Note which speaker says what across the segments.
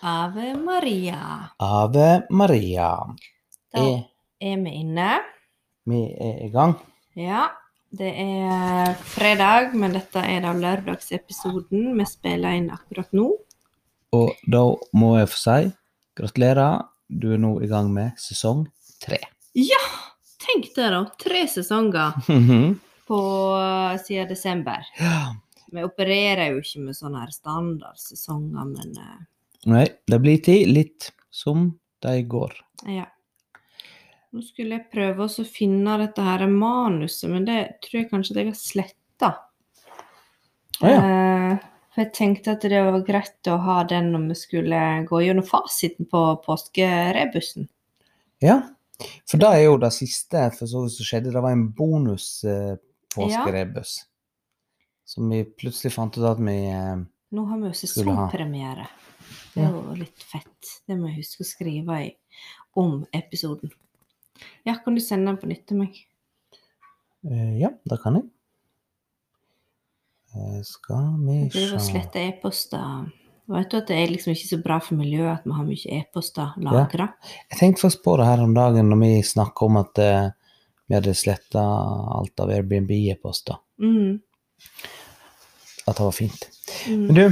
Speaker 1: Ave Maria.
Speaker 2: Ave Maria.
Speaker 1: Da
Speaker 2: Er
Speaker 1: er vi inne.
Speaker 2: vi er i gang?
Speaker 1: Ja, det er fredag, men dette er da lørdagsepisoden vi spiller inn akkurat nå.
Speaker 2: Og da må jeg få si gratulerer. Du er nå i gang med sesong tre.
Speaker 1: Ja! Tenk det, da. Tre sesonger på eh, siden desember.
Speaker 2: Ja.
Speaker 1: Vi opererer jo ikke med sånne her standardsesonger, men eh,
Speaker 2: Nei, det blir tid litt som de går.
Speaker 1: ja. Nå skulle jeg prøve også å finne dette her manuset, men det tror jeg kanskje at jeg har sletta.
Speaker 2: Å ja.
Speaker 1: Eh, For jeg tenkte at det var greit å ha den når vi skulle gå gjennom fasiten på påskerebusen.
Speaker 2: ja. For det er jo det siste for så vidt som skjedde. Det var en bonus eh, påskerebus. Som vi plutselig fant ut at vi eh,
Speaker 1: Nå har vi jo
Speaker 2: Skulle ha.
Speaker 1: sesongpremiere. Det er
Speaker 2: Ja.
Speaker 1: jo litt fett. Det må jeg huske å skrive i, om episoden. Ja, kan du sende den på nytt til meg?
Speaker 2: eh, Ja, det kan jeg. Eh, Skal vi
Speaker 1: Jeg driver og
Speaker 2: sjå.
Speaker 1: sletter e-poster. Vet du at det er liksom ikke så bra for miljøet at vi har mye e-poster lagra?
Speaker 2: Jeg tenkte faktisk på det her om dagen når vi snakket om at eh, vi hadde sletta alt av Airbnb-poster.
Speaker 1: Mm,
Speaker 2: At det var fint.
Speaker 1: mm.
Speaker 2: Men du,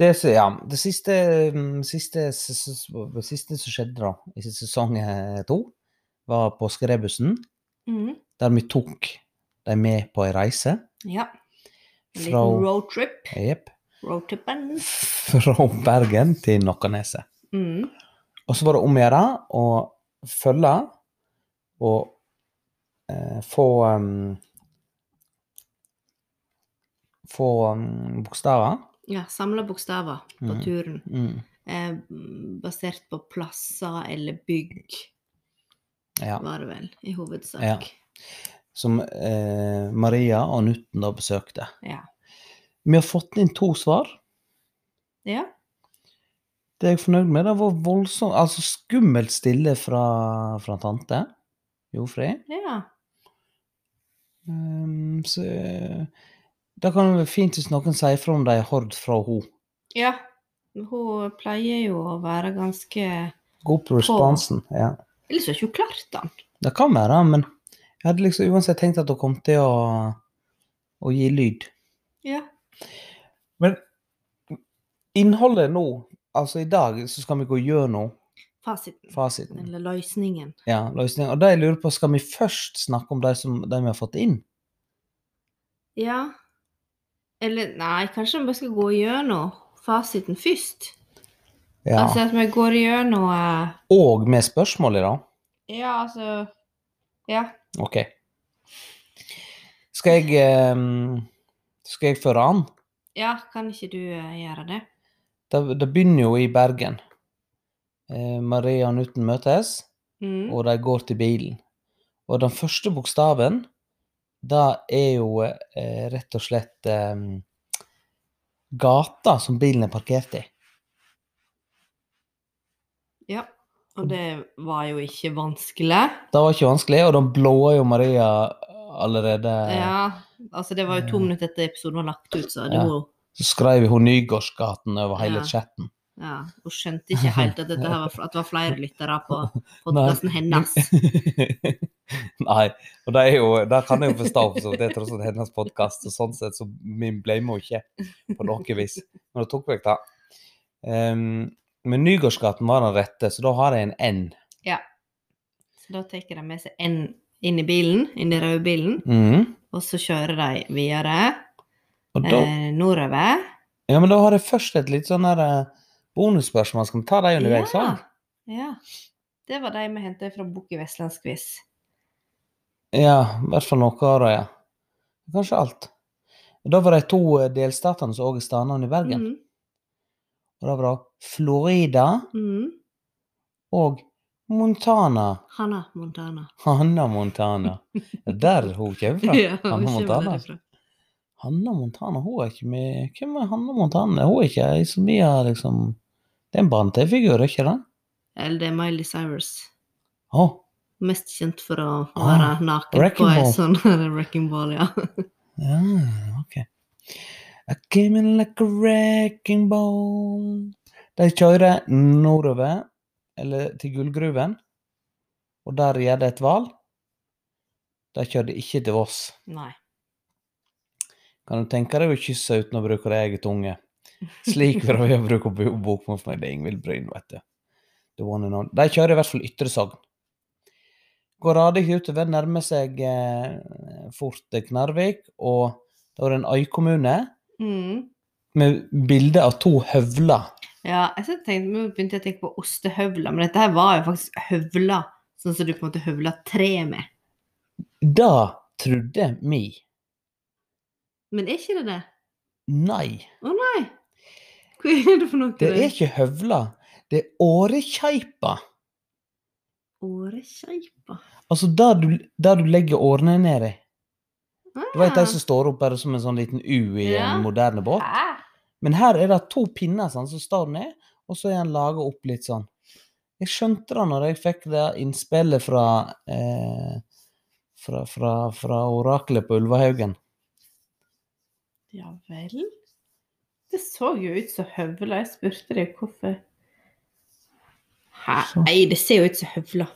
Speaker 2: det, s- ja, det siste, mm, siste, s- s- s- siste som skjedde da, i sesong eh, to, var påskerebusen,
Speaker 1: Mm.
Speaker 2: der vi tok dem med på ei reise.
Speaker 1: Ja. En
Speaker 2: Fra-
Speaker 1: liten roadtrip.
Speaker 2: Jepp.
Speaker 1: Roadtripen.
Speaker 2: Fra Bergen til Nokkaneset.
Speaker 1: Mm.
Speaker 2: Og så var det om å gjøre å følge og eh, få um, Få um, bokstaver.
Speaker 1: Ja, samla bokstaver på
Speaker 2: Mm.
Speaker 1: turen.
Speaker 2: Mm.
Speaker 1: Eh, basert på plasser eller bygg,
Speaker 2: Ja.
Speaker 1: var det vel, i hovedsak.
Speaker 2: Ja. Som eh, Maria og Nutten da besøkte.
Speaker 1: Ja.
Speaker 2: Vi har fått inn to svar.
Speaker 1: Ja.
Speaker 2: Det er jeg fornøyd med. Det var voldsomt Altså skummelt stille fra, fra tante Jofrid.
Speaker 1: ja.
Speaker 2: Um, så eh, Det kan være fint hvis noen sier fra om de har hørt fra henne.
Speaker 1: Ja. Hun pleier jo å være ganske Ellers
Speaker 2: God på responsen. Ja.
Speaker 1: har ikke hun klart den.
Speaker 2: Det kan være, men jeg hadde liksom uansett tenkt at hun kom til å, å gi lyd.
Speaker 1: Ja.
Speaker 2: Men innholdet nå, altså i dag, så skal vi gå gjennom
Speaker 1: Fasiten.
Speaker 2: fasiten.
Speaker 1: Eller løsningen.
Speaker 2: Ja, løsningen. Og det jeg lurer på, skal vi først snakke om de som de vi har fått inn?
Speaker 1: Ja. Eller nei, kanskje vi bare skal gå gjennom fasiten først?
Speaker 2: Ja.
Speaker 1: Altså at vi går gjennom eh,
Speaker 2: Og med spørsmål i dag?
Speaker 1: Ja, altså Ja.
Speaker 2: Ok. Skal jeg, eh, skal jeg føre an?
Speaker 1: Ja, kan ikke du eh, gjøre det?
Speaker 2: Det, det begynner jo i Bergen. Eh, Maria og Nutten møtes.
Speaker 1: Mm.
Speaker 2: og de går til bilen. Og den første bokstaven, det er jo eh, rett og slett eh, gata som bilen er parkert i.
Speaker 1: Ja, og det var jo ikke vanskelig.
Speaker 2: Det var ikke vanskelig, og den blåa jo Maria allerede.
Speaker 1: Ja, altså det var jo to
Speaker 2: Ja.
Speaker 1: minutter etter episoden var lagt ut, så hadde
Speaker 2: Eh. Ja.
Speaker 1: hun
Speaker 2: Så skrev hun Nygårdsgaten over hele
Speaker 1: Ja.
Speaker 2: chatten.
Speaker 1: ja, hun skjønte ikke helt at, dette her var, at det var flere lyttere på podkasten hennes.
Speaker 2: Nei, og det, er jo, det kan jeg jo forstå, for så vidt. det er tross alt hennes podkast, og sånn sett så vi ble vi jo ikke på noe vis. Men hun tok vekk det. Ehm, men Nygårdsgaten var den rette, så da har jeg en N.
Speaker 1: Så da tar de med seg en inn i bilen, inn i røde bilen,
Speaker 2: Mhm.
Speaker 1: og så kjører de videre
Speaker 2: Og da,
Speaker 1: eh, nordover.
Speaker 2: ja, men da har jeg først et litt sånn der eh, bonusspørsmål. Skal vi ta det underveis?
Speaker 1: Ja,
Speaker 2: sånn?
Speaker 1: ja. Det var de vi henta fra Bukk i Vestlandsquiz.
Speaker 2: Ja, i hvert fall noe av det, ja. Kanskje alt. Og da var de to eh, delstatene som også er stadnavn i Bergen.
Speaker 1: Mm,
Speaker 2: Og da var det Florida
Speaker 1: mm.
Speaker 2: og Montana.
Speaker 1: Hanna Montana.
Speaker 2: Hanna Montana. Ja, Der hun kommer fra.
Speaker 1: Ja,
Speaker 2: Hanna
Speaker 1: hun kommer
Speaker 2: Montana.
Speaker 1: derifra.
Speaker 2: Hanna Montana, hun er ikke med Hvem er Hanna Montana? Hun er ikke ei som vi har liksom Det er en Bante-figur, er ikke det?
Speaker 1: Eller det er Miley Cyrus.
Speaker 2: Å,
Speaker 1: Mest kjent for å være
Speaker 2: Ah,
Speaker 1: naken
Speaker 2: wrecking
Speaker 1: på en
Speaker 2: ball.
Speaker 1: sånn wrecking ball, ja.
Speaker 2: ja, ok. I came in like a wrecking ball. De kjører nordover, eller til Gullgruven, og der gjør de et valg. De kjørte ikke til Voss.
Speaker 1: Nei.
Speaker 2: Kan du tenke deg å kysse uten å bruke din egen tunge? Slik vil vi bruke bo- bokmål for meg. Det er Ingvild Bryn, vet du. The one and only. De kjører i hvert fall Ytre Sogn. Går radig utover, nærmer seg eh, fort eh, Knarvik, og da er det en øykommune
Speaker 1: Mm.
Speaker 2: med bilde av to høvler.
Speaker 1: Ja, jeg så tenkte, nå begynte jeg å tenke på ostehøvler, men dette her var jo faktisk høvler, sånn som du på en måte høvler tre med.
Speaker 2: Det trodde vi.
Speaker 1: Men er ikke det det?
Speaker 2: Nei,
Speaker 1: Å nei! Hva er det for noe?
Speaker 2: det er ikke høvler. Det er årekeipa.
Speaker 1: Årekeipa.
Speaker 2: Altså der du, der du legger årene ned i. Du vet de
Speaker 1: Ah.
Speaker 2: som står opp bare som en sånn liten U i
Speaker 1: Ja.
Speaker 2: en moderne båt?
Speaker 1: Hæ?
Speaker 2: Men her er det to pinner sånn, som står ned, og så er han laga opp litt sånn. Jeg skjønte det når jeg fikk det innspillet fra eh, fra, fra, fra oraklet på Ulvehaugen.
Speaker 1: Ja vel? Det så jo ut som høvler. Jeg spurte deg hvorfor. Hæ?
Speaker 2: Så.
Speaker 1: Nei, det ser jo ut som høvler.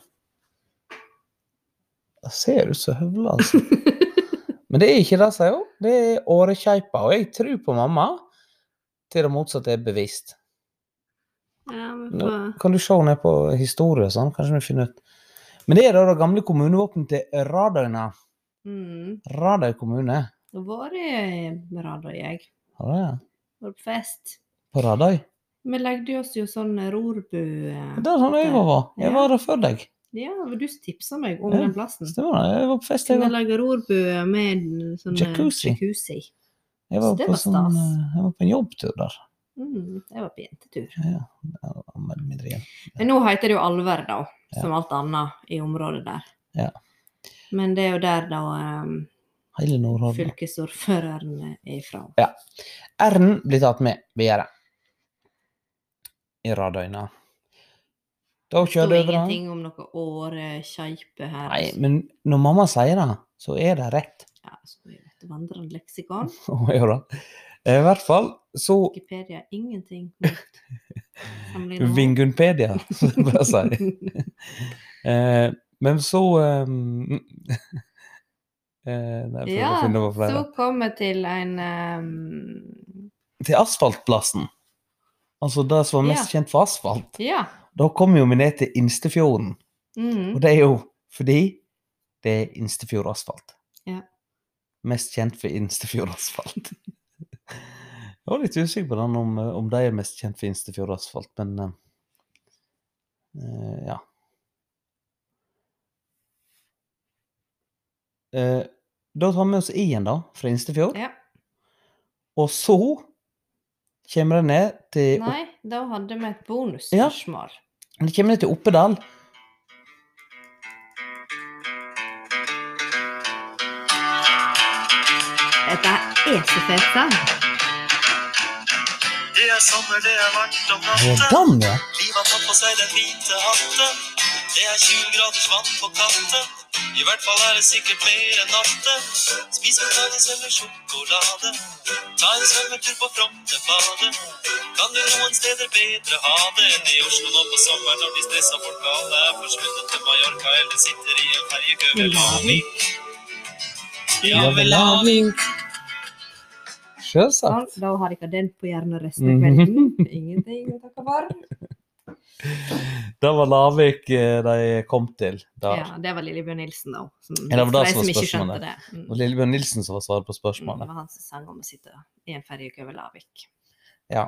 Speaker 2: Det ser ut som høvler, altså. Men det er ikke det, sier hun. Det er årekeipa. Og jeg tror på mamma til det motsatte er bevisst.
Speaker 1: Ja, men
Speaker 2: Nå
Speaker 1: hva-
Speaker 2: kan du se ned på historie og sånn, kanskje vi finner ut. Men det er da det gamle kommunevåpenet til Radøyna.
Speaker 1: Mm.
Speaker 2: Radøy kommune.
Speaker 1: Det har vært med Radøy, jeg.
Speaker 2: Har du det?
Speaker 1: Vært på fest.
Speaker 2: På Radøy?
Speaker 1: Vi legde oss jo sånn rorbu eh,
Speaker 2: Det er sånn jeg var. Jeg
Speaker 1: Ja.
Speaker 2: var der før deg.
Speaker 1: Ja, det var du som tipsa meg om
Speaker 2: Ja,
Speaker 1: den plassen.
Speaker 2: Stemmer det. Jeg var på fest, jeg
Speaker 1: Vi
Speaker 2: var.
Speaker 1: lager rorbu med sånn eh,
Speaker 2: Jacuzzi.
Speaker 1: jacuzzi.
Speaker 2: Jeg var
Speaker 1: Så det
Speaker 2: på,
Speaker 1: var
Speaker 2: sånn,
Speaker 1: stas.
Speaker 2: eh, jeg var på en jobbtur der.
Speaker 1: Mm, det var på jentetur.
Speaker 2: Ja, ja. Det var mer eller mindre igjen.
Speaker 1: Men nå heter det jo Alver, da, som alt annet i området der.
Speaker 2: Ja.
Speaker 1: Men det er jo der da em,
Speaker 2: Hele Nordhordland.
Speaker 1: fylkesordføreren er ifra.
Speaker 2: R-en blir tatt med videre. I Radøyna. Da
Speaker 1: Det
Speaker 2: kjører
Speaker 1: står
Speaker 2: du over den.
Speaker 1: ingenting om noe årekeipe her.
Speaker 2: Nei,
Speaker 1: altså.
Speaker 2: men når mamma sier det, så er det rett.
Speaker 1: Ja, så er det et vandrende leksikon.
Speaker 2: Hun gjør det. I hvert fall så
Speaker 1: Wikipedia er ingenting mot sammenlignet med-
Speaker 2: Vingunpedia, som jeg bare sier. Eh, men så um, eh, Nei, jeg prøver
Speaker 1: Ja,
Speaker 2: å finne på flere.
Speaker 1: så kom jeg til en ehm, em,
Speaker 2: til asfaltplassen. Altså det som var mest kjent for asfalt.
Speaker 1: Ja.
Speaker 2: Da kom jo vi ned til Instefjorden. Og
Speaker 1: Mm.
Speaker 2: det er jo fordi det er Instefjord asfalt.
Speaker 1: Ja.
Speaker 2: Mest kjent for Instefjord asfalt. Jeg var litt usikker på den om, eh, om de er mest kjent for Instefjord asfalt, men eh, eh, ja. Eh, da tar vi oss i igjen, da, fra Instefjord.
Speaker 1: ja.
Speaker 2: Og så kommer det ned til
Speaker 1: Nei, da hadde vi et bonusspørsmål.
Speaker 2: Men det kommer ned til Oppedal.
Speaker 1: Dette er så fett, da.
Speaker 3: Det er sommer, det er varmt om
Speaker 2: Ja,
Speaker 3: natten.
Speaker 2: den, ja.
Speaker 3: Liv har tatt på seg den hvite hatten. Det er 20 graders vann på katten. I hvert fall er det sikkert mer enn natte. Spis potatis eller sjokolade. Ta en svømmetur på Frognerbadet. Kan du noen steder bedre ha det enn i Oslo nå på sommeren når de stressa folka alle er forsvunnet til Mallorca eller sitter i en ferjekø ved Lavik? Ja, ved Lavik.
Speaker 2: Sjølsagt.
Speaker 1: Sånn, da har dere den på hjernen resten
Speaker 2: Mhm.
Speaker 1: av kvelden. Ingenting å takke for.
Speaker 2: Det var Lavik eh, de kom til. Der.
Speaker 1: Ja, det var Lillebjørn Nilsen, da. Som,
Speaker 2: Ja, det var
Speaker 1: for
Speaker 2: det
Speaker 1: de
Speaker 2: som
Speaker 1: som
Speaker 2: var
Speaker 1: ikke skjønte
Speaker 2: spørsmålet.
Speaker 1: det. Mm.
Speaker 2: Og Lillebjørn Nilsen som var svaret på
Speaker 1: Mm, Det
Speaker 2: spørsmålet.
Speaker 1: var han som sang om å sitte i en ferjeuke over Lavik.
Speaker 2: Ja.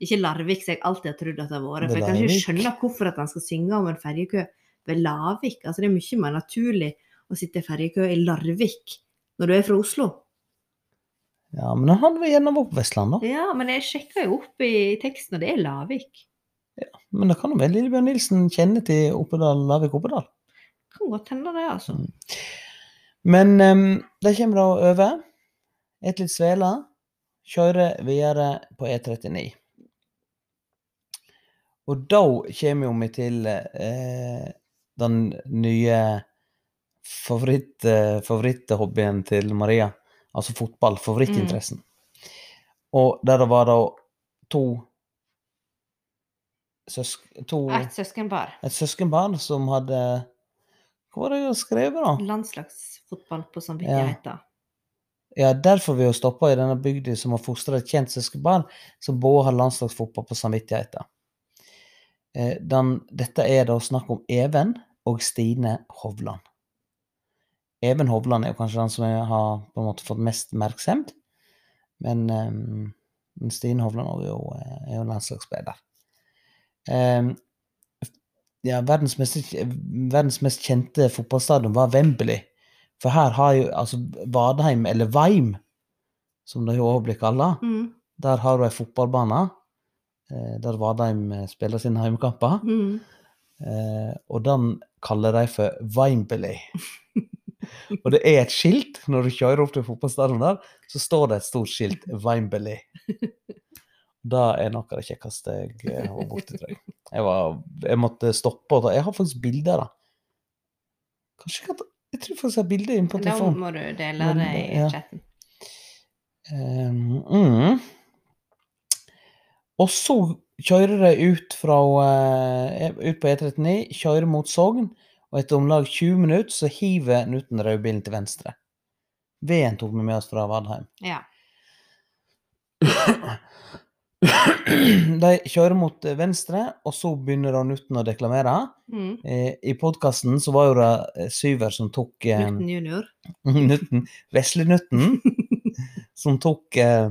Speaker 1: Ikke Larvik, som jeg alltid har trodd at det har vært. For
Speaker 2: Det
Speaker 1: jeg
Speaker 2: er
Speaker 1: kan ikke
Speaker 2: Larvik.
Speaker 1: skjønne hvorfor at han skal synge om en ferjekø ved Lavik. Altså, det er mye mer naturlig å sitte i ferjekø i Larvik når du er fra Oslo.
Speaker 2: Ja, men han var gjerne var på Vestlandet.
Speaker 1: Ja, men jeg sjekka jo opp i teksten, og det er Lavik.
Speaker 2: Men det kan jo være Lillebjørn Nilsen kjenner til Oppedal, Lavik Oppedal.
Speaker 1: Kan godt hende det, altså.
Speaker 2: Mm. Men um, de kommer da over. Et litt svele. Kjører videre på E39. Og da kommer jo vi til eh, den nye favoritt, eh, favoritthobbyen til Maria. Altså fotball. Favorittinteressen. Og der det var da to søsk, to,
Speaker 1: Et søskenpar.
Speaker 2: et søskenbarn som hadde Hva var det jeg skrev, da?
Speaker 1: Landslagsfotball på sånn samvittigheten.
Speaker 2: Ja, derfor vi har stoppa i denne bygda som har fostra et kjent søskenbarn som både har landslagsfotball på samvittigheten. Eh, Den, dette er da snakk om Even og Stine Hovland. Even Hovland er jo kanskje den som jeg har på en måte fått mest oppmerksomhet. Men, ehm, men Stine Hovland er jo, eh, er jo landslagsspiller. Ehm, ja, verdens, mest, verdens mest kjente fotballstadion var Wembley. For her har jo altså Vadheim, eller Veim, som det jo også blir kalla,
Speaker 1: Mm.
Speaker 2: der har du ei fotballbane eh, der Vadheim eh, spiller sine heimkamper.
Speaker 1: Mm.
Speaker 2: Eh, og den kaller de for Wimberley. og det er et skilt når du kjører opp til fotballstadion der, så står det et stort skilt Wimberley. Det er noe av det kjekkeste jeg eh, var borti, tror jeg. Jeg, var, jeg måtte stoppe og ta Jeg har faktisk bilder, da. Kanskje jeg kan ta Jeg tror faktisk jeg har bilde inne på
Speaker 1: Da
Speaker 2: telefonen.
Speaker 1: må du dele
Speaker 2: Men,
Speaker 1: det i
Speaker 2: ja.
Speaker 1: chatten.
Speaker 2: Um, mm. Og så kjører de ut, fra, eh, ut på E39, kjører mot Sogn, og etter om lag 20 minutter så hiver Nuten rødbilen til venstre. Veden tok vi med oss fra Vadheim.
Speaker 1: Ja.
Speaker 2: De kjører mot eh, venstre, og så begynner da Nuten å deklamere.
Speaker 1: Mm.
Speaker 2: Eh, I podkasten så var jo det eh, Syver som tok eh,
Speaker 1: Newton junior.
Speaker 2: Nutten, vesle Nutten, som tok eh,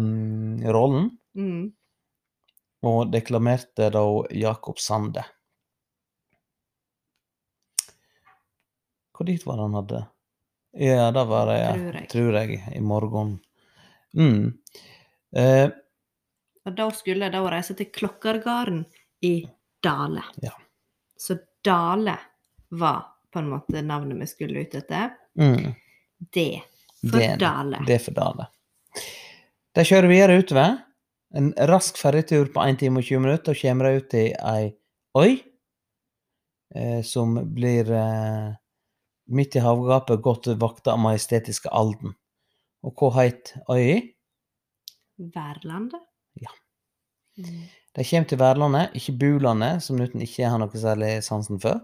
Speaker 2: rollen.
Speaker 1: Mm.
Speaker 2: og deklamerte da Jakob Sande. Hvor dit var det han hadde? Ja, det var det, ja.
Speaker 1: Tror jeg.
Speaker 2: Tror jeg, i morgen. Mm. Eh,
Speaker 1: Og da skulle jeg da reise til Klokkergarden i Dale.
Speaker 2: Ja.
Speaker 1: Så Dale var på en måte navnet vi skulle ut etter.
Speaker 2: mm.
Speaker 1: Det for
Speaker 2: Det,
Speaker 1: Dale.
Speaker 2: det er for Dale. De kjører videre utover. En rask ferjetur på 1 time og 20 minutter, og kommer de ut til ei øy eh, som blir eh, midt i havgapet godt vakta av majestetiske Alden. Og hva het øya?
Speaker 1: Værlandet.
Speaker 2: Ja.
Speaker 1: Mm.
Speaker 2: De kommer til værlandet, ikke bulandet, som Newton ikke har noe særlig sansen for.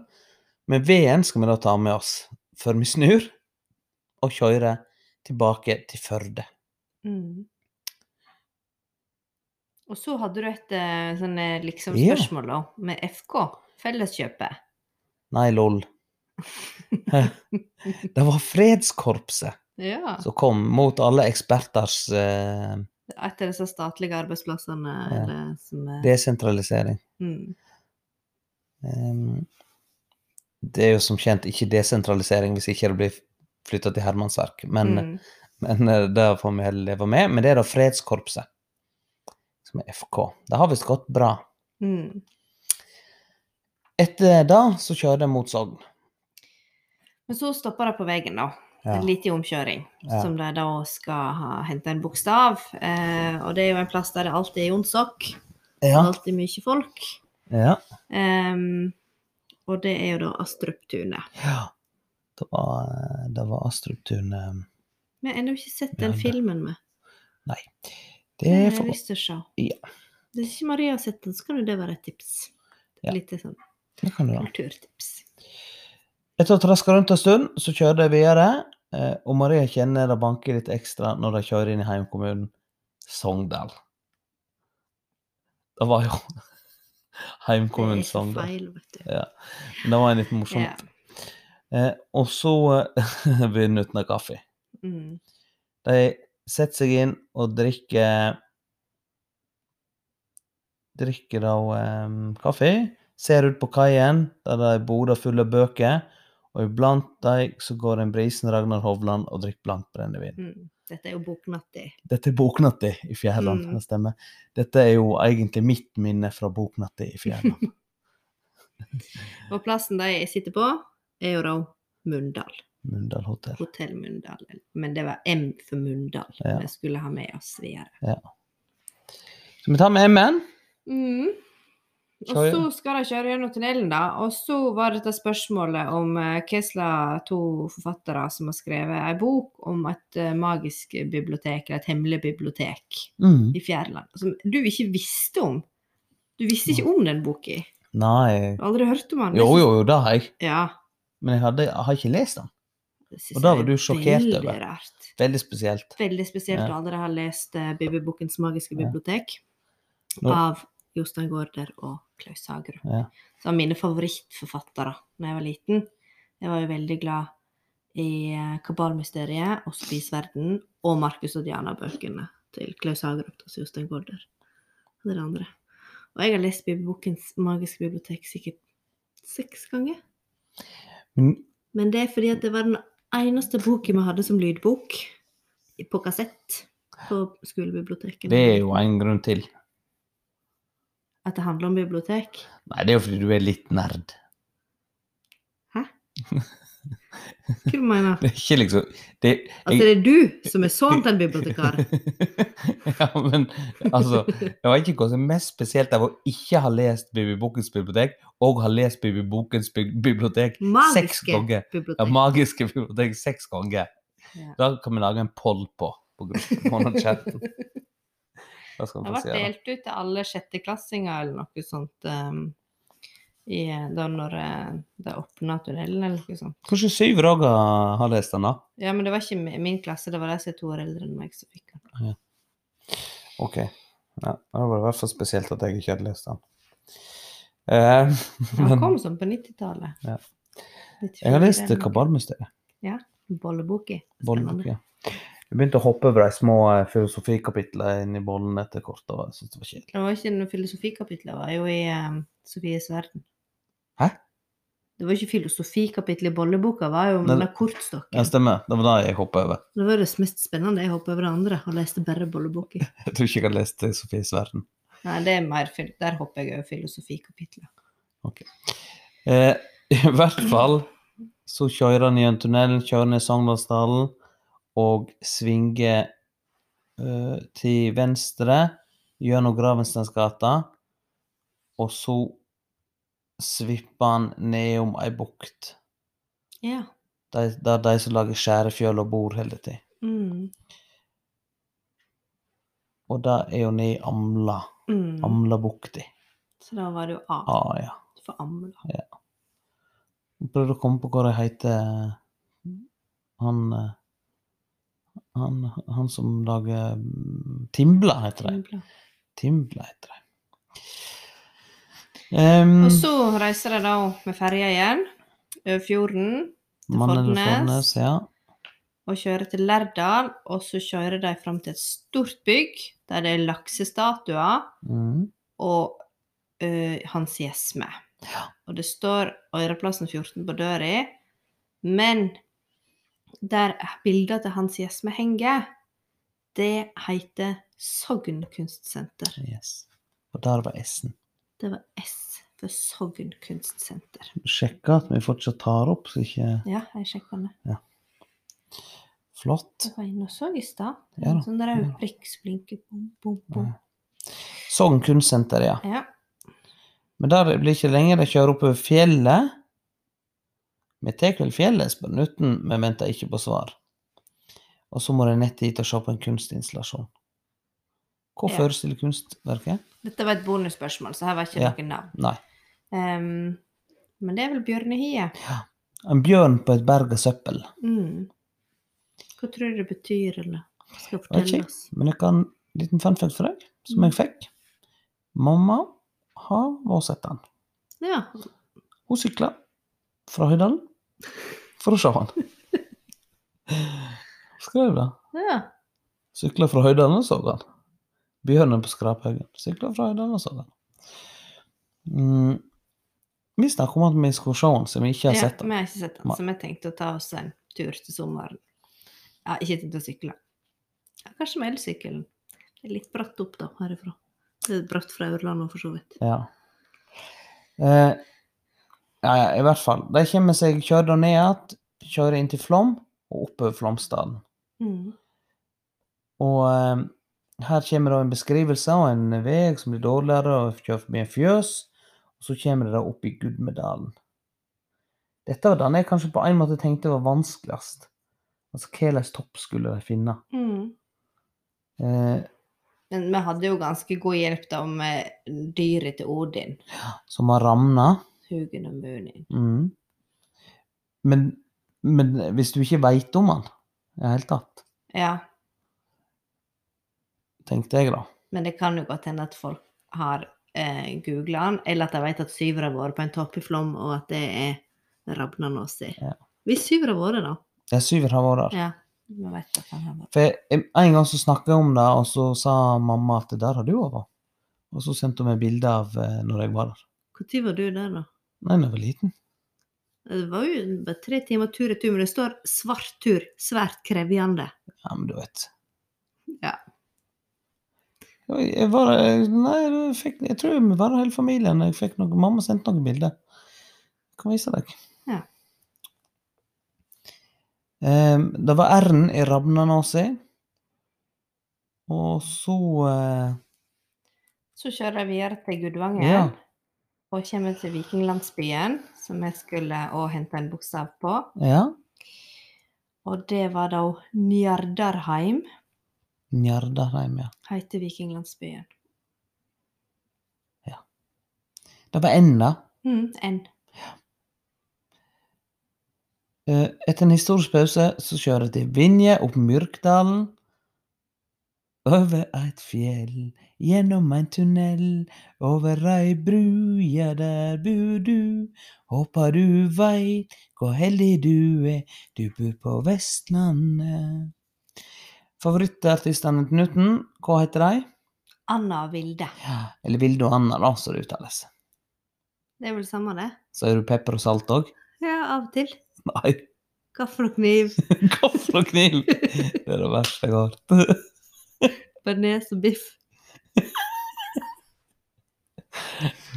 Speaker 2: Men veden skal vi da ta med oss, før vi snur og kjører tilbake til Førde.
Speaker 1: Mm. Og så hadde du et eh, sånn eh, liksom
Speaker 2: Ja.
Speaker 1: spørsmål da, med FK, Felleskjøpet.
Speaker 2: Nei, lol. Det var fredskorpset
Speaker 1: Ja.
Speaker 2: som kom mot alle eksperters eh,
Speaker 1: Et av disse statlige arbeidsplassene
Speaker 2: Ja.
Speaker 1: eller, som er
Speaker 2: desentralisering.
Speaker 1: mm.
Speaker 2: Ehm, det er jo som kjent ikke desentralisering hvis ikke det blir flytta til Hermansverk, men
Speaker 1: mm.
Speaker 2: Men eh, det får vi heller leve med. Men det er da fredskorpset, som er FK. Det har visst gått bra.
Speaker 1: Mm.
Speaker 2: Etter det så kjører de mot Sogn.
Speaker 1: Men så stopper det på veien, da.
Speaker 2: Ja.
Speaker 1: En liten omkjøring,
Speaker 2: Ja.
Speaker 1: som de da skal ha, hente en bokstav. Eh, og det er jo en plass der det alltid er jonsok.
Speaker 2: Ja.
Speaker 1: Alltid mye folk.
Speaker 2: ja.
Speaker 1: Em, og det er jo da Astruptunet.
Speaker 2: ja. Det var, eh, det var Astrup-turen. eh,
Speaker 1: Vi har ennå ikke sett den
Speaker 2: Ja, det-
Speaker 1: filmen med.
Speaker 2: Det
Speaker 1: Den har
Speaker 2: er
Speaker 1: jeg
Speaker 2: for
Speaker 1: lyst til å se.
Speaker 2: Ja.
Speaker 1: Hvis ikke Maria har sett den, så kan jo det være et tips.
Speaker 2: Ja.
Speaker 1: Litt sånn
Speaker 2: det kan du ha.
Speaker 1: kulturtips.
Speaker 2: Etter å ha traska rundt en stund, så kjører de videre. eh, Og Maria kjenner det banker litt ekstra når de kjører inn i heimkommunen Sogndal. Det var jo heimkommunen
Speaker 1: det er så
Speaker 2: Sogndal.
Speaker 1: feil, vet du.
Speaker 2: Ja. Men det var en litt morsom
Speaker 1: Ja.
Speaker 2: Eh, og så eh, begynner uten av kaffe.
Speaker 1: Mm.
Speaker 2: De setter seg inn og drikker Drikker da em, kaffe. Ser ut på kaien, der det er boder fulle av bøker. Og iblant dem så går en brisen Ragnar Hovland og drikker blankt brennevin.
Speaker 1: Mm. Dette er jo boknatti.
Speaker 2: Dette er Boknatti i Fjærland,
Speaker 1: Mm.
Speaker 2: det stemmer. Dette er jo egentlig mitt minne fra Boknatti i Fjærland.
Speaker 1: Og plassen de sitter på, er jo da Mundal.
Speaker 2: Mundal hotell.
Speaker 1: Hotell Mundal. Men det var M for Mundal vi
Speaker 2: Ja.
Speaker 1: skulle ha med oss videre.
Speaker 2: Så vi tar med M-en.
Speaker 1: Mm. Og
Speaker 2: Kjører-
Speaker 1: så skal de kjøre gjennom tunnelen, da. Og så var dette spørsmålet om eh, hva slags to forfattere som har skrevet ei bok om et eh, magisk bibliotek, eller et hemmelig bibliotek
Speaker 2: Mm.
Speaker 1: i Fjærland, som du ikke visste om. Du visste ikke om den boka.
Speaker 2: Nei
Speaker 1: Jeg har aldri hørt om han.
Speaker 2: Jo, jo, jo, det har jeg.
Speaker 1: Ja.
Speaker 2: Men jeg, hadde, jeg har ikke lest den.
Speaker 1: Det synes
Speaker 2: Og da
Speaker 1: jeg
Speaker 2: var
Speaker 1: er
Speaker 2: du sjokkert
Speaker 1: veldig
Speaker 2: over.
Speaker 1: Rart.
Speaker 2: Veldig spesielt.
Speaker 1: Veldig spesielt
Speaker 2: Ja.
Speaker 1: å aldri ha lest eh, Bibelbokens magiske
Speaker 2: Ja.
Speaker 1: bibliotek
Speaker 2: Nå-
Speaker 1: av Jostein Gaarder og Klaus Hagerup.
Speaker 2: Ja.
Speaker 1: Så mine favorittforfattere da jeg var liten. Jeg var jo veldig glad i eh, Kabalmysteriet og Spisverden og Markus og Diana-bøkene til Klaus Hagerup og Jostein Gaarder. Og det andre. Og jeg har lest Bibelbokens magiske bibliotek sikkert seks ganger.
Speaker 2: Men
Speaker 1: Men det er fordi at det var den eneste boken vi hadde som lydbok i- på kassett på skolebiblioteket.
Speaker 2: det er jo en grunn til.
Speaker 1: At det handler om bibliotek.
Speaker 2: Nei, det er jo fordi du er litt nerd.
Speaker 1: Hva du mener
Speaker 2: Det er ikke liksom det,
Speaker 1: Altså, det er du som er sånn til en bibliotekar.
Speaker 2: ja, men altså Jeg vet ikke hva som er mest spesielt av å ikke ha lest Bibelbokens bibliotek, og ha lest Bibelbokens bi- bibliotek seks
Speaker 1: Magiske
Speaker 2: ganger. Ja,
Speaker 1: bibliotek.
Speaker 2: magiske bibliotek seks ganger.
Speaker 1: Ja.
Speaker 2: Da kan vi lage en poll på på gruppen. på den chatten. Da skal
Speaker 1: Det har
Speaker 2: vi få
Speaker 1: vært
Speaker 2: se. da.
Speaker 1: delt ut til alle sjetteklassinger eller noe sånt ehm, i, da når eh, det åpna tunnelen eller noe sånt.
Speaker 2: Kanskje syver òg har lest den, da?
Speaker 1: Ja, men det var ikke mi- min klasse, det var de som er to år eldre enn meg som fikk den.
Speaker 2: Ok. Ja, det var i hvert fall spesielt at jeg ikke hadde lest den. Eh,
Speaker 1: Han
Speaker 2: men
Speaker 1: kom sånn på 90-tallet.
Speaker 2: Ja.
Speaker 1: 94
Speaker 2: jeg har lest
Speaker 1: eller noe.
Speaker 2: Kabalmysteriet.
Speaker 1: Bolleboka.
Speaker 2: Bollen,
Speaker 1: Spennende.
Speaker 2: ja. Jeg begynte å hoppe over de små eh, filosofikapitler inni bollen etter kort. og jeg syntes det var kjedelig.
Speaker 1: Det var ikke noe filosofikapittel, det var jo i um, Sofies verden.
Speaker 2: Hæ?
Speaker 1: Det var ikke filosofikapittel i bolleboka, det var jo om
Speaker 2: Nei,
Speaker 1: denne
Speaker 2: Ja,
Speaker 1: kortstokken.
Speaker 2: stemmer. Det var det jeg hoppa over.
Speaker 1: Det var det mest spennende. Jeg hoppet over det andre og leste bare bolleboka.
Speaker 2: Jeg tror ikke jeg har lest eh, Sofies verden.
Speaker 1: Nei, det er mer, fil- der hopper jeg over filosofikapitlet.
Speaker 2: Eh, I hvert fall så kjører han i en tunnel, kjører ned Sogndalsdalen og svinger eh, til venstre gjennom Gravensteinsgata. Og så svipper han nedom ei bukt
Speaker 1: Ja.
Speaker 2: der der de som lager skjærefjøl og bord, holder til.
Speaker 1: Mm.
Speaker 2: Og det er jo ned i Amla.
Speaker 1: Mm.
Speaker 2: Amlabukti.
Speaker 1: Så da var det jo A
Speaker 2: Ah, ja.
Speaker 1: for Amla.
Speaker 2: Jeg prøvde å komme på hva det heter han eh, han, han som lager mm, Timbla, heter det.
Speaker 1: Amla.
Speaker 2: Timbla heter det. Em,
Speaker 1: Og så reiser jeg da med ferja igjen, over fjorden, til
Speaker 2: Mann eller
Speaker 1: Fornenes.
Speaker 2: Fornes, ja.
Speaker 1: og kjører til Lærdal, og så kjører de fram til et stort bygg der det er laksestatuer
Speaker 2: Mm.
Speaker 1: og eh, hans gjesme. Og det står Øreplassen 14 på døra, men der bildet til hans gjesme henger, det heter Sogn kunstsenter.
Speaker 2: Yes. Og der var S-en.
Speaker 1: Det var S for Sogn kunstsenter.
Speaker 2: Sjekka at vi fortsatt tar opp, så ikke
Speaker 1: Ja, jeg sjekka det.
Speaker 2: Flott.
Speaker 1: Jeg var inne og så i stad.
Speaker 2: Ja da,
Speaker 1: En sånn
Speaker 2: ja
Speaker 1: rød
Speaker 2: da.
Speaker 1: prikk som blinker bom, bom, bom.
Speaker 2: Sogn kunstsenter, Sånn ja.
Speaker 1: Ja.
Speaker 2: Men der blir ikke lenger de kjører oppover fjellet. Vi tar vel fjellet, spør Nutten, men venter ikke på svar. Og så må de nett dit og se på en kunstinstallasjon. Hva
Speaker 1: Ja.
Speaker 2: forestiller kunstverket?
Speaker 1: Dette var et bonusspørsmål, så her var ikke
Speaker 2: Ja.
Speaker 1: noe navn.
Speaker 2: Nei.
Speaker 1: Ehm, men det er vel bjørnehiet.
Speaker 2: En bjørn på et berg av søppel.
Speaker 1: Mm. Hva tror du det betyr, eller hva skal
Speaker 2: Vet
Speaker 1: fortelle
Speaker 2: ikke.
Speaker 1: oss?
Speaker 2: Men jeg kan en liten fun fact for deg, som jeg fikk. Mamma har vært sett den.
Speaker 1: Ja.
Speaker 2: Hun sykla fra Høydalen for å se han. Skrev det.
Speaker 1: ja.
Speaker 2: Sykla fra høydene og så han. Bjørnen på skraphaugen. Sykla fra høydene og så han. Mm. Vi snakker om at vi skulle se den, så vi ikke har
Speaker 1: Ja,
Speaker 2: sett
Speaker 1: Vi
Speaker 2: den.
Speaker 1: har ikke sett den,
Speaker 2: Nei.
Speaker 1: så vi tenkte å ta oss en tur til sommeren. Ja, ikke tenkt å sykle. Ja, kanskje med elsykkelen. Det er litt bratt opp, da, herifra. Det er bratt fra Aurland òg, for så vidt.
Speaker 2: Ja. Eh, ja, ja, i hvert fall. De kommer seg kjører da ned igjen, kjører inn til Flåm og oppover Flåmsdalen.
Speaker 1: Mm.
Speaker 2: Og eh, her kommer da en beskrivelse av en vei som blir dårligere, og kjører forbi en fjøs. Og så kommer det da opp i Gudmedalen. Dette var den jeg kanskje på en måte tenkte var vanskeligst. Altså hva slags topp skulle de finne?
Speaker 1: Mm.
Speaker 2: Eh,
Speaker 1: Men vi hadde jo ganske god hjelp da med dyret til Odin,
Speaker 2: Som har ramna.
Speaker 1: Hugen og Munin.
Speaker 2: Mm. Men, men hvis du ikke veit om han i det hele tatt,
Speaker 1: Ja,
Speaker 2: tenkte jeg da.
Speaker 1: men det kan jo godt hende at folk har eh, googla den, eller at de vet at Syver har vært på en topp i Flåm, og at det er Rabnanåsi.
Speaker 2: Ja.
Speaker 1: Hvis Syver har vært, da.
Speaker 2: Ja, Syver har vært der.
Speaker 1: Ja, vi vet at han har vært
Speaker 2: For jeg, en gang så snakka jeg om det, og så sa mamma at der har du vært. Og så sendte hun meg bilde av eh, når jeg var der.
Speaker 1: Når var du der, da?
Speaker 2: Nei, da jeg var liten.
Speaker 1: Det var jo bare tre timer tur retur, men det står 'svart tur, svært krevjende'.
Speaker 2: Ja, men du vet.
Speaker 1: Ja.
Speaker 2: Jeg jeg var jeg- Nei, jeg, fikk, jeg tror vi var der hele familien. Jeg fikk noe, mamma sendte noen bilder. Jeg kan vise deg.
Speaker 1: Ja.
Speaker 2: Em, Ehm, det var R-en i Rabnanåsi. Og så eh,
Speaker 1: Så kjører jeg videre til Gudvangen
Speaker 2: Ja.
Speaker 1: og kommer til vikinglandsbyen, som jeg skulle òg hente en bokstav på.
Speaker 2: Ja.
Speaker 1: Og det var da Njardarheim,
Speaker 2: Njardarheim, ja.
Speaker 1: heter vikinglandsbyen.
Speaker 2: Det var enda.
Speaker 1: Mm, en.
Speaker 2: Eh, Etter en historisk pause så kjører jeg til Vinje opp Myrkdalen. Over eit fjell, gjennom ein tunnel, over ei bru, ja, der bor du. Håper du veit hvor heldig du er, du bor på Vestlandet. Favorittartistene til Knuten, hva heter de?
Speaker 1: Anna og Vilde.
Speaker 2: Eller Vilde og Anna, da, som det uttales.
Speaker 1: Det er vel samme, det?
Speaker 2: Så er du pepper og salt òg?
Speaker 1: Ja, av og til.
Speaker 2: Nei,
Speaker 1: Gaffel og kniv,
Speaker 2: gaffel og kniv! Det er det verste jeg har hørt.
Speaker 1: bearnés og biff.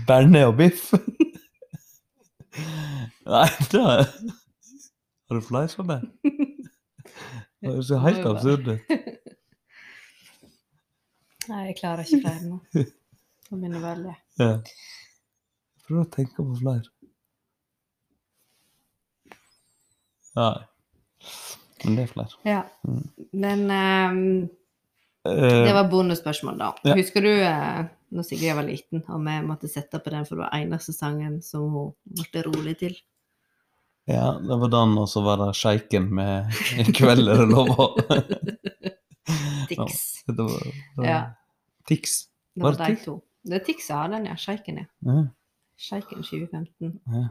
Speaker 2: Bearnés og biff. Nei, det er... Har du fleis for meg? Det høres jo helt
Speaker 1: Må jo bare-
Speaker 2: absurd ut.
Speaker 1: Nei, jeg klarer ikke flere nå. Nå begynner vel det.
Speaker 2: Ja. Prøv å tenke på flere. Nei. Men det er flere.
Speaker 1: Ja.
Speaker 2: Mm.
Speaker 1: Men ehm,
Speaker 2: Eh,
Speaker 1: Det var bonusspørsmål, da.
Speaker 2: Ja.
Speaker 1: Husker du eh, når Sigrid var liten, og vi måtte sette på den, for det var eneste sangen som hun ble rolig til?
Speaker 2: Ja, det var den, og så var det sjeiken med i kveld er det lov å
Speaker 1: Tix.
Speaker 2: Det var, det var...
Speaker 1: Ja.
Speaker 2: Tix.
Speaker 1: Det
Speaker 2: var
Speaker 1: var
Speaker 2: det
Speaker 1: de
Speaker 2: Tix?
Speaker 1: to. Det er Tix som har den, ja. Sjeiken, ja.
Speaker 2: Ja.
Speaker 1: Sjeiken 2015.
Speaker 2: Ja.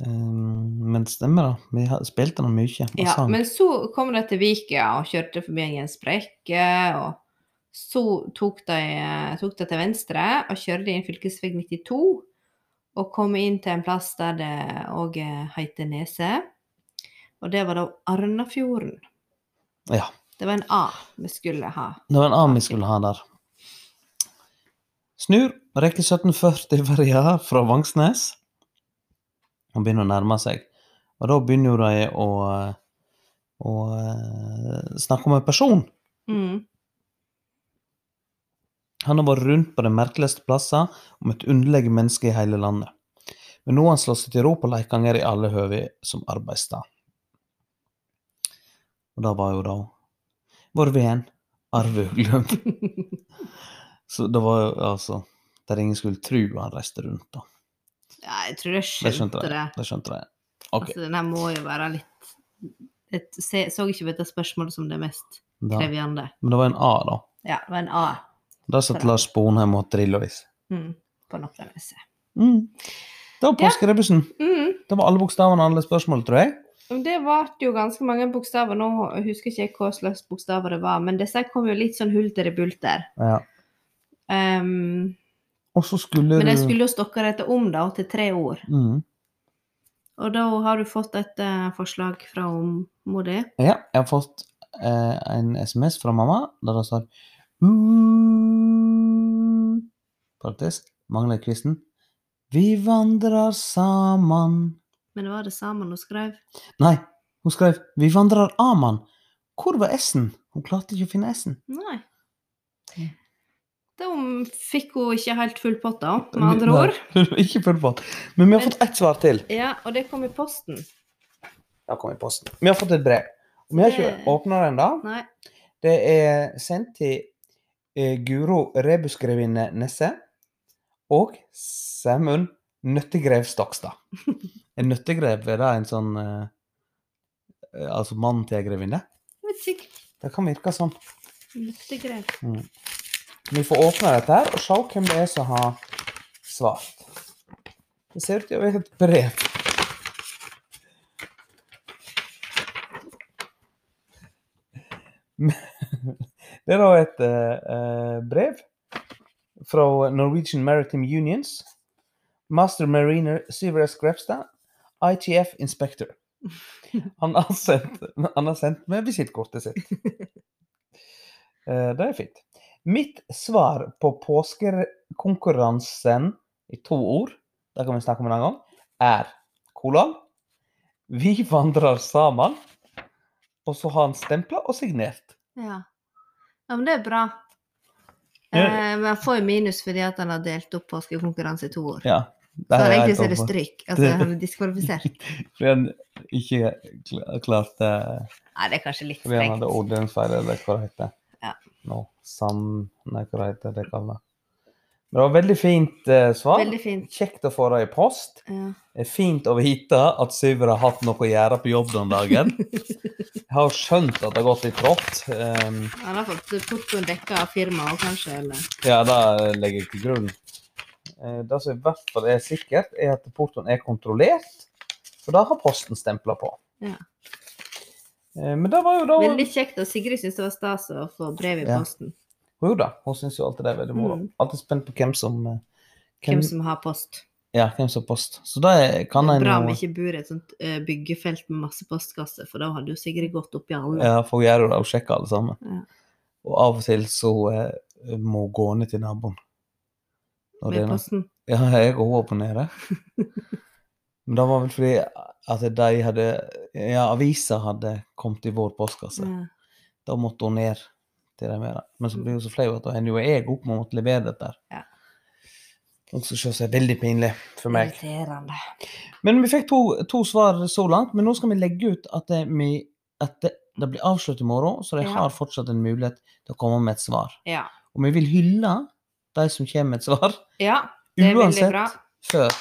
Speaker 2: Ehm, Men stemmer det. Vi har- spilte den mye. Og
Speaker 1: Ja,
Speaker 2: sang.
Speaker 1: men så kom de til Vikia og kjørte forbi en sprekke, og så tok de, tok de til venstre og kjørte inn fylkesvei 92, og kom inn til en plass der det òg heter Nese, og det var da Arnafjorden.
Speaker 2: Ja.
Speaker 1: Det var en A vi skulle ha.
Speaker 2: Det var en arm vi skulle ha der. Snur rekke 1740 ferja fra Vangsnes og begynner å nærme seg. Og da begynner jo de å, å eh, snakke om en person.
Speaker 1: Mm.
Speaker 2: Han har vært rundt på de merkeligste plasser om et underlig menneske i hele landet. Men nå har han slått seg til ro på Leikanger i alle høve som arbeidsstad. Og det var jo da vår venn Arve Uglum. Så det var jo altså Der ingen skulle tro han reiste rundt, da.
Speaker 1: Ja, jeg tror jeg
Speaker 2: Det
Speaker 1: skjønte
Speaker 2: skjønte
Speaker 1: det.
Speaker 2: de. Det skjønte de. Ok.
Speaker 1: Altså, den her må jo være litt Jeg se- så ikke på dette spørsmålet som det mest
Speaker 2: Da.
Speaker 1: krevende.
Speaker 2: Men det var en A, da.
Speaker 1: Ja, det var en A
Speaker 2: Der satt Lars Bonheim og Drillovis.
Speaker 1: mm. på Nokkaneset.
Speaker 2: Mm. Det var
Speaker 1: Ja.
Speaker 2: påskerebussen.
Speaker 1: Mm.
Speaker 2: Det var alle bokstavene og alle spørsmål, tror jeg.
Speaker 1: Men Det ble jo ganske mange bokstaver. Nå husker ikke jeg hva slags bokstaver det var, men disse kom jo litt sånn hulter i bulter.
Speaker 2: Ja.
Speaker 1: Ehm,
Speaker 2: Og så skulle
Speaker 1: men de
Speaker 2: du-
Speaker 1: skulle jo stokke dette om da, til tre ord.
Speaker 2: mm.
Speaker 1: Og da har du fått et eh, forslag fra om- mor di.
Speaker 2: Ja, jeg har fått eh, en SMS fra mamma der det står «Uh, Parentes. Mangler kvisten. Vi vandrer saman.
Speaker 1: Men det var det samme hun skrev.
Speaker 2: Nei, hun skrev Vi vandrer aman. Hvor var S-en? Hun klarte ikke å finne S-en.
Speaker 1: Nei.
Speaker 2: Mm.
Speaker 1: Da fikk hun ikke helt full pott, da, med andre ord.
Speaker 2: Nei, ikke full pott. Men vi har fått ett svar til.
Speaker 1: Ja, og det kom i posten.
Speaker 2: Da kom i posten. Vi har fått et brev. Og vi har ikke
Speaker 1: Det-
Speaker 2: åpna det ennå.
Speaker 1: Nei.
Speaker 2: Det er sendt til eh, Guro Rebusgrevinne Nesse og Sæmund Nøttegrev Stokstad. En nøttegrev, er det en sånn eh, eh, Altså mannen til ei grevinne?
Speaker 1: Jeg vet ikke.
Speaker 2: Det kan virke sånn.
Speaker 1: Luktegrev.
Speaker 2: Vi får åpne dette her og se hvem det er som har svart. Det ser ut til å være et brev. Men- Det er da et eh, eh, brev fra Norwegian Maritime Unions. Master mariner Siveras Grepstad, ITF Inspector. Han har sendt, han har sendt med visittkortet sitt. Eh, Det er fint. Mitt svar på påskekonkurransen i to ord, det kan vi snakke om en annen gang, er kolon. Vi vandrer sammen. Og så har han stempla og signert.
Speaker 1: Ja. ja, men det er bra.
Speaker 2: Ja.
Speaker 1: Eh, men han får jo minus fordi at han har delt opp påskekonkurranse i to år.
Speaker 2: Ja.
Speaker 1: Så
Speaker 2: det har jeg
Speaker 1: egentlig så er
Speaker 2: helt
Speaker 1: det
Speaker 2: overfor.
Speaker 1: stryk. Altså, han er diskvalifisert.
Speaker 2: Fordi han ikke kla- klarte
Speaker 1: Nei, det er kanskje litt
Speaker 2: Fordi han
Speaker 1: strengt.
Speaker 2: hadde ordensfeil, eller hva det heter.
Speaker 1: Ja.
Speaker 2: Nå, sam... Nei, hva det heter det kallet. Men det var veldig fint eh, svar.
Speaker 1: Veldig fint.
Speaker 2: Kjekt å få det i post.
Speaker 1: Ja.
Speaker 2: Det er fint å vite at Syver har hatt noe å gjøre på jobb den dagen. Jeg har skjønt at det har gått litt trått. Ehm,
Speaker 1: Han har fått portoen dekka av firmaet òg, kanskje. Eller?
Speaker 2: ja, det legger jeg til grunn. Eh, Det som i hvert fall er sikkert, er at portoen er kontrollert, for det har posten stempla på.
Speaker 1: Ja.
Speaker 2: Eh, Men det var jo da
Speaker 1: Veldig kjekt. Og Sigrid syntes det var stas å få brev i
Speaker 2: Ja.
Speaker 1: posten.
Speaker 2: Jo da, hun syns jo alltid det er veldig moro.
Speaker 1: Mm.
Speaker 2: Alltid spent på hvem som eh,
Speaker 1: Hvem som har post.
Speaker 2: Ja, hvem som har post. Så det kan en
Speaker 1: Bra om
Speaker 2: jo-
Speaker 1: vi ikke bor i et sånt eh, byggefelt med masse postkasser, for da hadde jo Sigrid gått oppi alle.
Speaker 2: Ja, for hun gjør jo det, hun sjekker alle sammen.
Speaker 1: Ja.
Speaker 2: Og av og til så eh, må hun gå ned til naboen. Når det er
Speaker 1: med
Speaker 2: noe-
Speaker 1: posten.
Speaker 2: Ja, jeg og hun var på nede. Men det var vel fordi at de hadde Ja, avisa hadde kommet i vår postkasse.
Speaker 1: Ja. Mm.
Speaker 2: Da måtte hun ned til dem med det. Men så blir hun så flau at da ender jo jeg opp med å måtte levere dette. her.
Speaker 1: Ja.
Speaker 2: Noe som ser seg veldig pinlig for meg.
Speaker 1: Irriterende.
Speaker 2: Men vi fikk to, to svar så langt, men nå skal vi legge ut at det, vi, at det, det blir avslørt i morgen, så de
Speaker 1: Ja.
Speaker 2: har fortsatt en mulighet til å komme med et svar.
Speaker 1: Ja.
Speaker 2: Og vi vil hylle de som kommer med et svar,
Speaker 1: ja. Det er veldig
Speaker 2: uansett
Speaker 1: bra.
Speaker 2: før.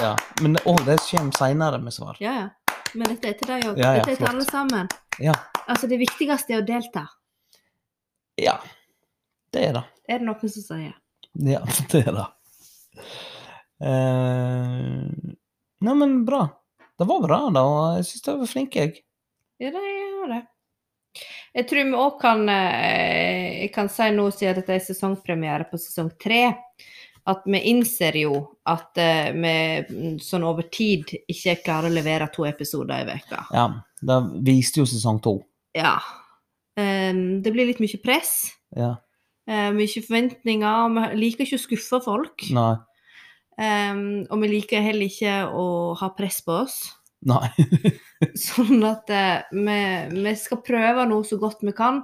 Speaker 2: Ja, men òg de som kommer seinere med svar.
Speaker 1: Ja, ja. Men dette er til deg òg.
Speaker 2: Ja, ja,
Speaker 1: dette er til
Speaker 2: flott.
Speaker 1: alle sammen.
Speaker 2: Ja.
Speaker 1: Altså, det viktigste er å delta.
Speaker 2: Ja, det er det.
Speaker 1: Er det noen som sier.
Speaker 2: Ja, det er det. Uh, nei, men bra. Det var bra, da. og Jeg syns du var flink, jeg.
Speaker 1: Ja, det gjør det. Jeg tror vi òg kan, eh, jeg kan si nå, siden dette er sesongpremiere på sesong tre, at vi innser jo at eh, vi mm, sånn over tid ikke klarer å levere to episoder i veka.
Speaker 2: Ja, det viste jo sesong to.
Speaker 1: Ja. Em, det blir litt mye press.
Speaker 2: Ja.
Speaker 1: eh, mye forventninger. og Vi liker ikke å skuffe folk.
Speaker 2: Nei.
Speaker 1: em, og vi liker heller ikke å ha press på oss.
Speaker 2: Nei.
Speaker 1: Sånn at eh, vi, vi skal prøve nå så godt vi kan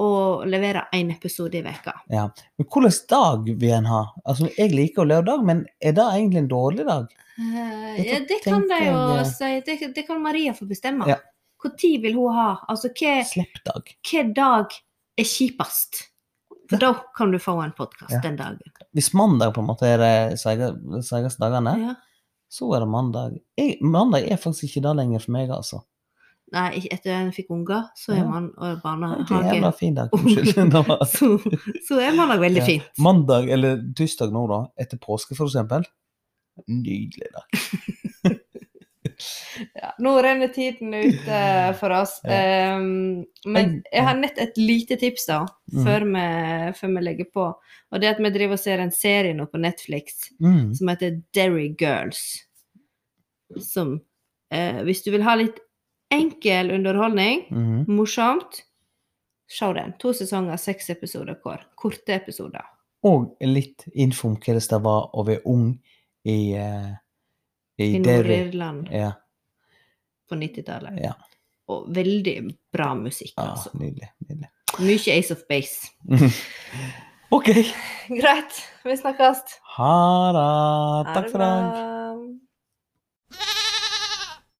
Speaker 1: å levere én episode i veka.
Speaker 2: Men hvilken dag vil en ha? Altså, jeg liker å lørdag, men er det egentlig en dårlig dag?
Speaker 1: Eh,
Speaker 2: Dette
Speaker 1: ja, det kan de
Speaker 2: tenkte
Speaker 1: jo
Speaker 2: jeg- eh,
Speaker 1: si, det, det kan Maria få bestemme.
Speaker 2: Ja.
Speaker 1: Hvor tid vil hun ha? Altså hva,
Speaker 2: Slippdag.
Speaker 1: hva dag er kjipest? For da kan du få en podkast
Speaker 2: Ja.
Speaker 1: den dagen.
Speaker 2: Hvis mandag på en måte er de seige- de seigeste dagene,
Speaker 1: Ja.
Speaker 2: så er det mandag. Jeg, mandag er faktisk ikke det lenger for meg, altså.
Speaker 1: Nei, ikke- etter at en fikk unger, så er
Speaker 2: Ja.
Speaker 1: man og
Speaker 2: Det er en
Speaker 1: barnehage.
Speaker 2: jævla fin dag. Unnskyld. Det var-
Speaker 1: Så, så er man da veldig
Speaker 2: Ja.
Speaker 1: fint.
Speaker 2: Mandag eller tirsdag nå, da, etter påske for eksempel. Nydelig dag.
Speaker 1: Ja, nå renner tiden ut eh, for oss.
Speaker 2: Ja.
Speaker 1: Ehm, men
Speaker 2: Jeg-
Speaker 1: jeg har nett et lite tips da,
Speaker 2: Mm.
Speaker 1: før, vi, før vi legger på. Og det er at vi driver og ser en serie nå på Netflix
Speaker 2: Mm.
Speaker 1: som heter Derry Girls. Som eh, Hvis du vil ha litt enkel underholdning,
Speaker 2: Mhm.
Speaker 1: morsomt, se den. To sesonger, seks episoder hver. Korte episoder.
Speaker 2: Og litt info om hvordan det var å være ung i, eh, i,
Speaker 1: I
Speaker 2: Derry.
Speaker 1: Nord-Irland
Speaker 2: Ja,
Speaker 1: på 90-tallet.
Speaker 2: ja.
Speaker 1: Og veldig bra musikk,
Speaker 2: Ah,
Speaker 1: altså.
Speaker 2: nydelig. nydelig.
Speaker 1: Mye Ace of Base.
Speaker 2: OK.
Speaker 1: Greit. Vi snakkes.
Speaker 2: Ha det. Takk for i dag.
Speaker 1: dag.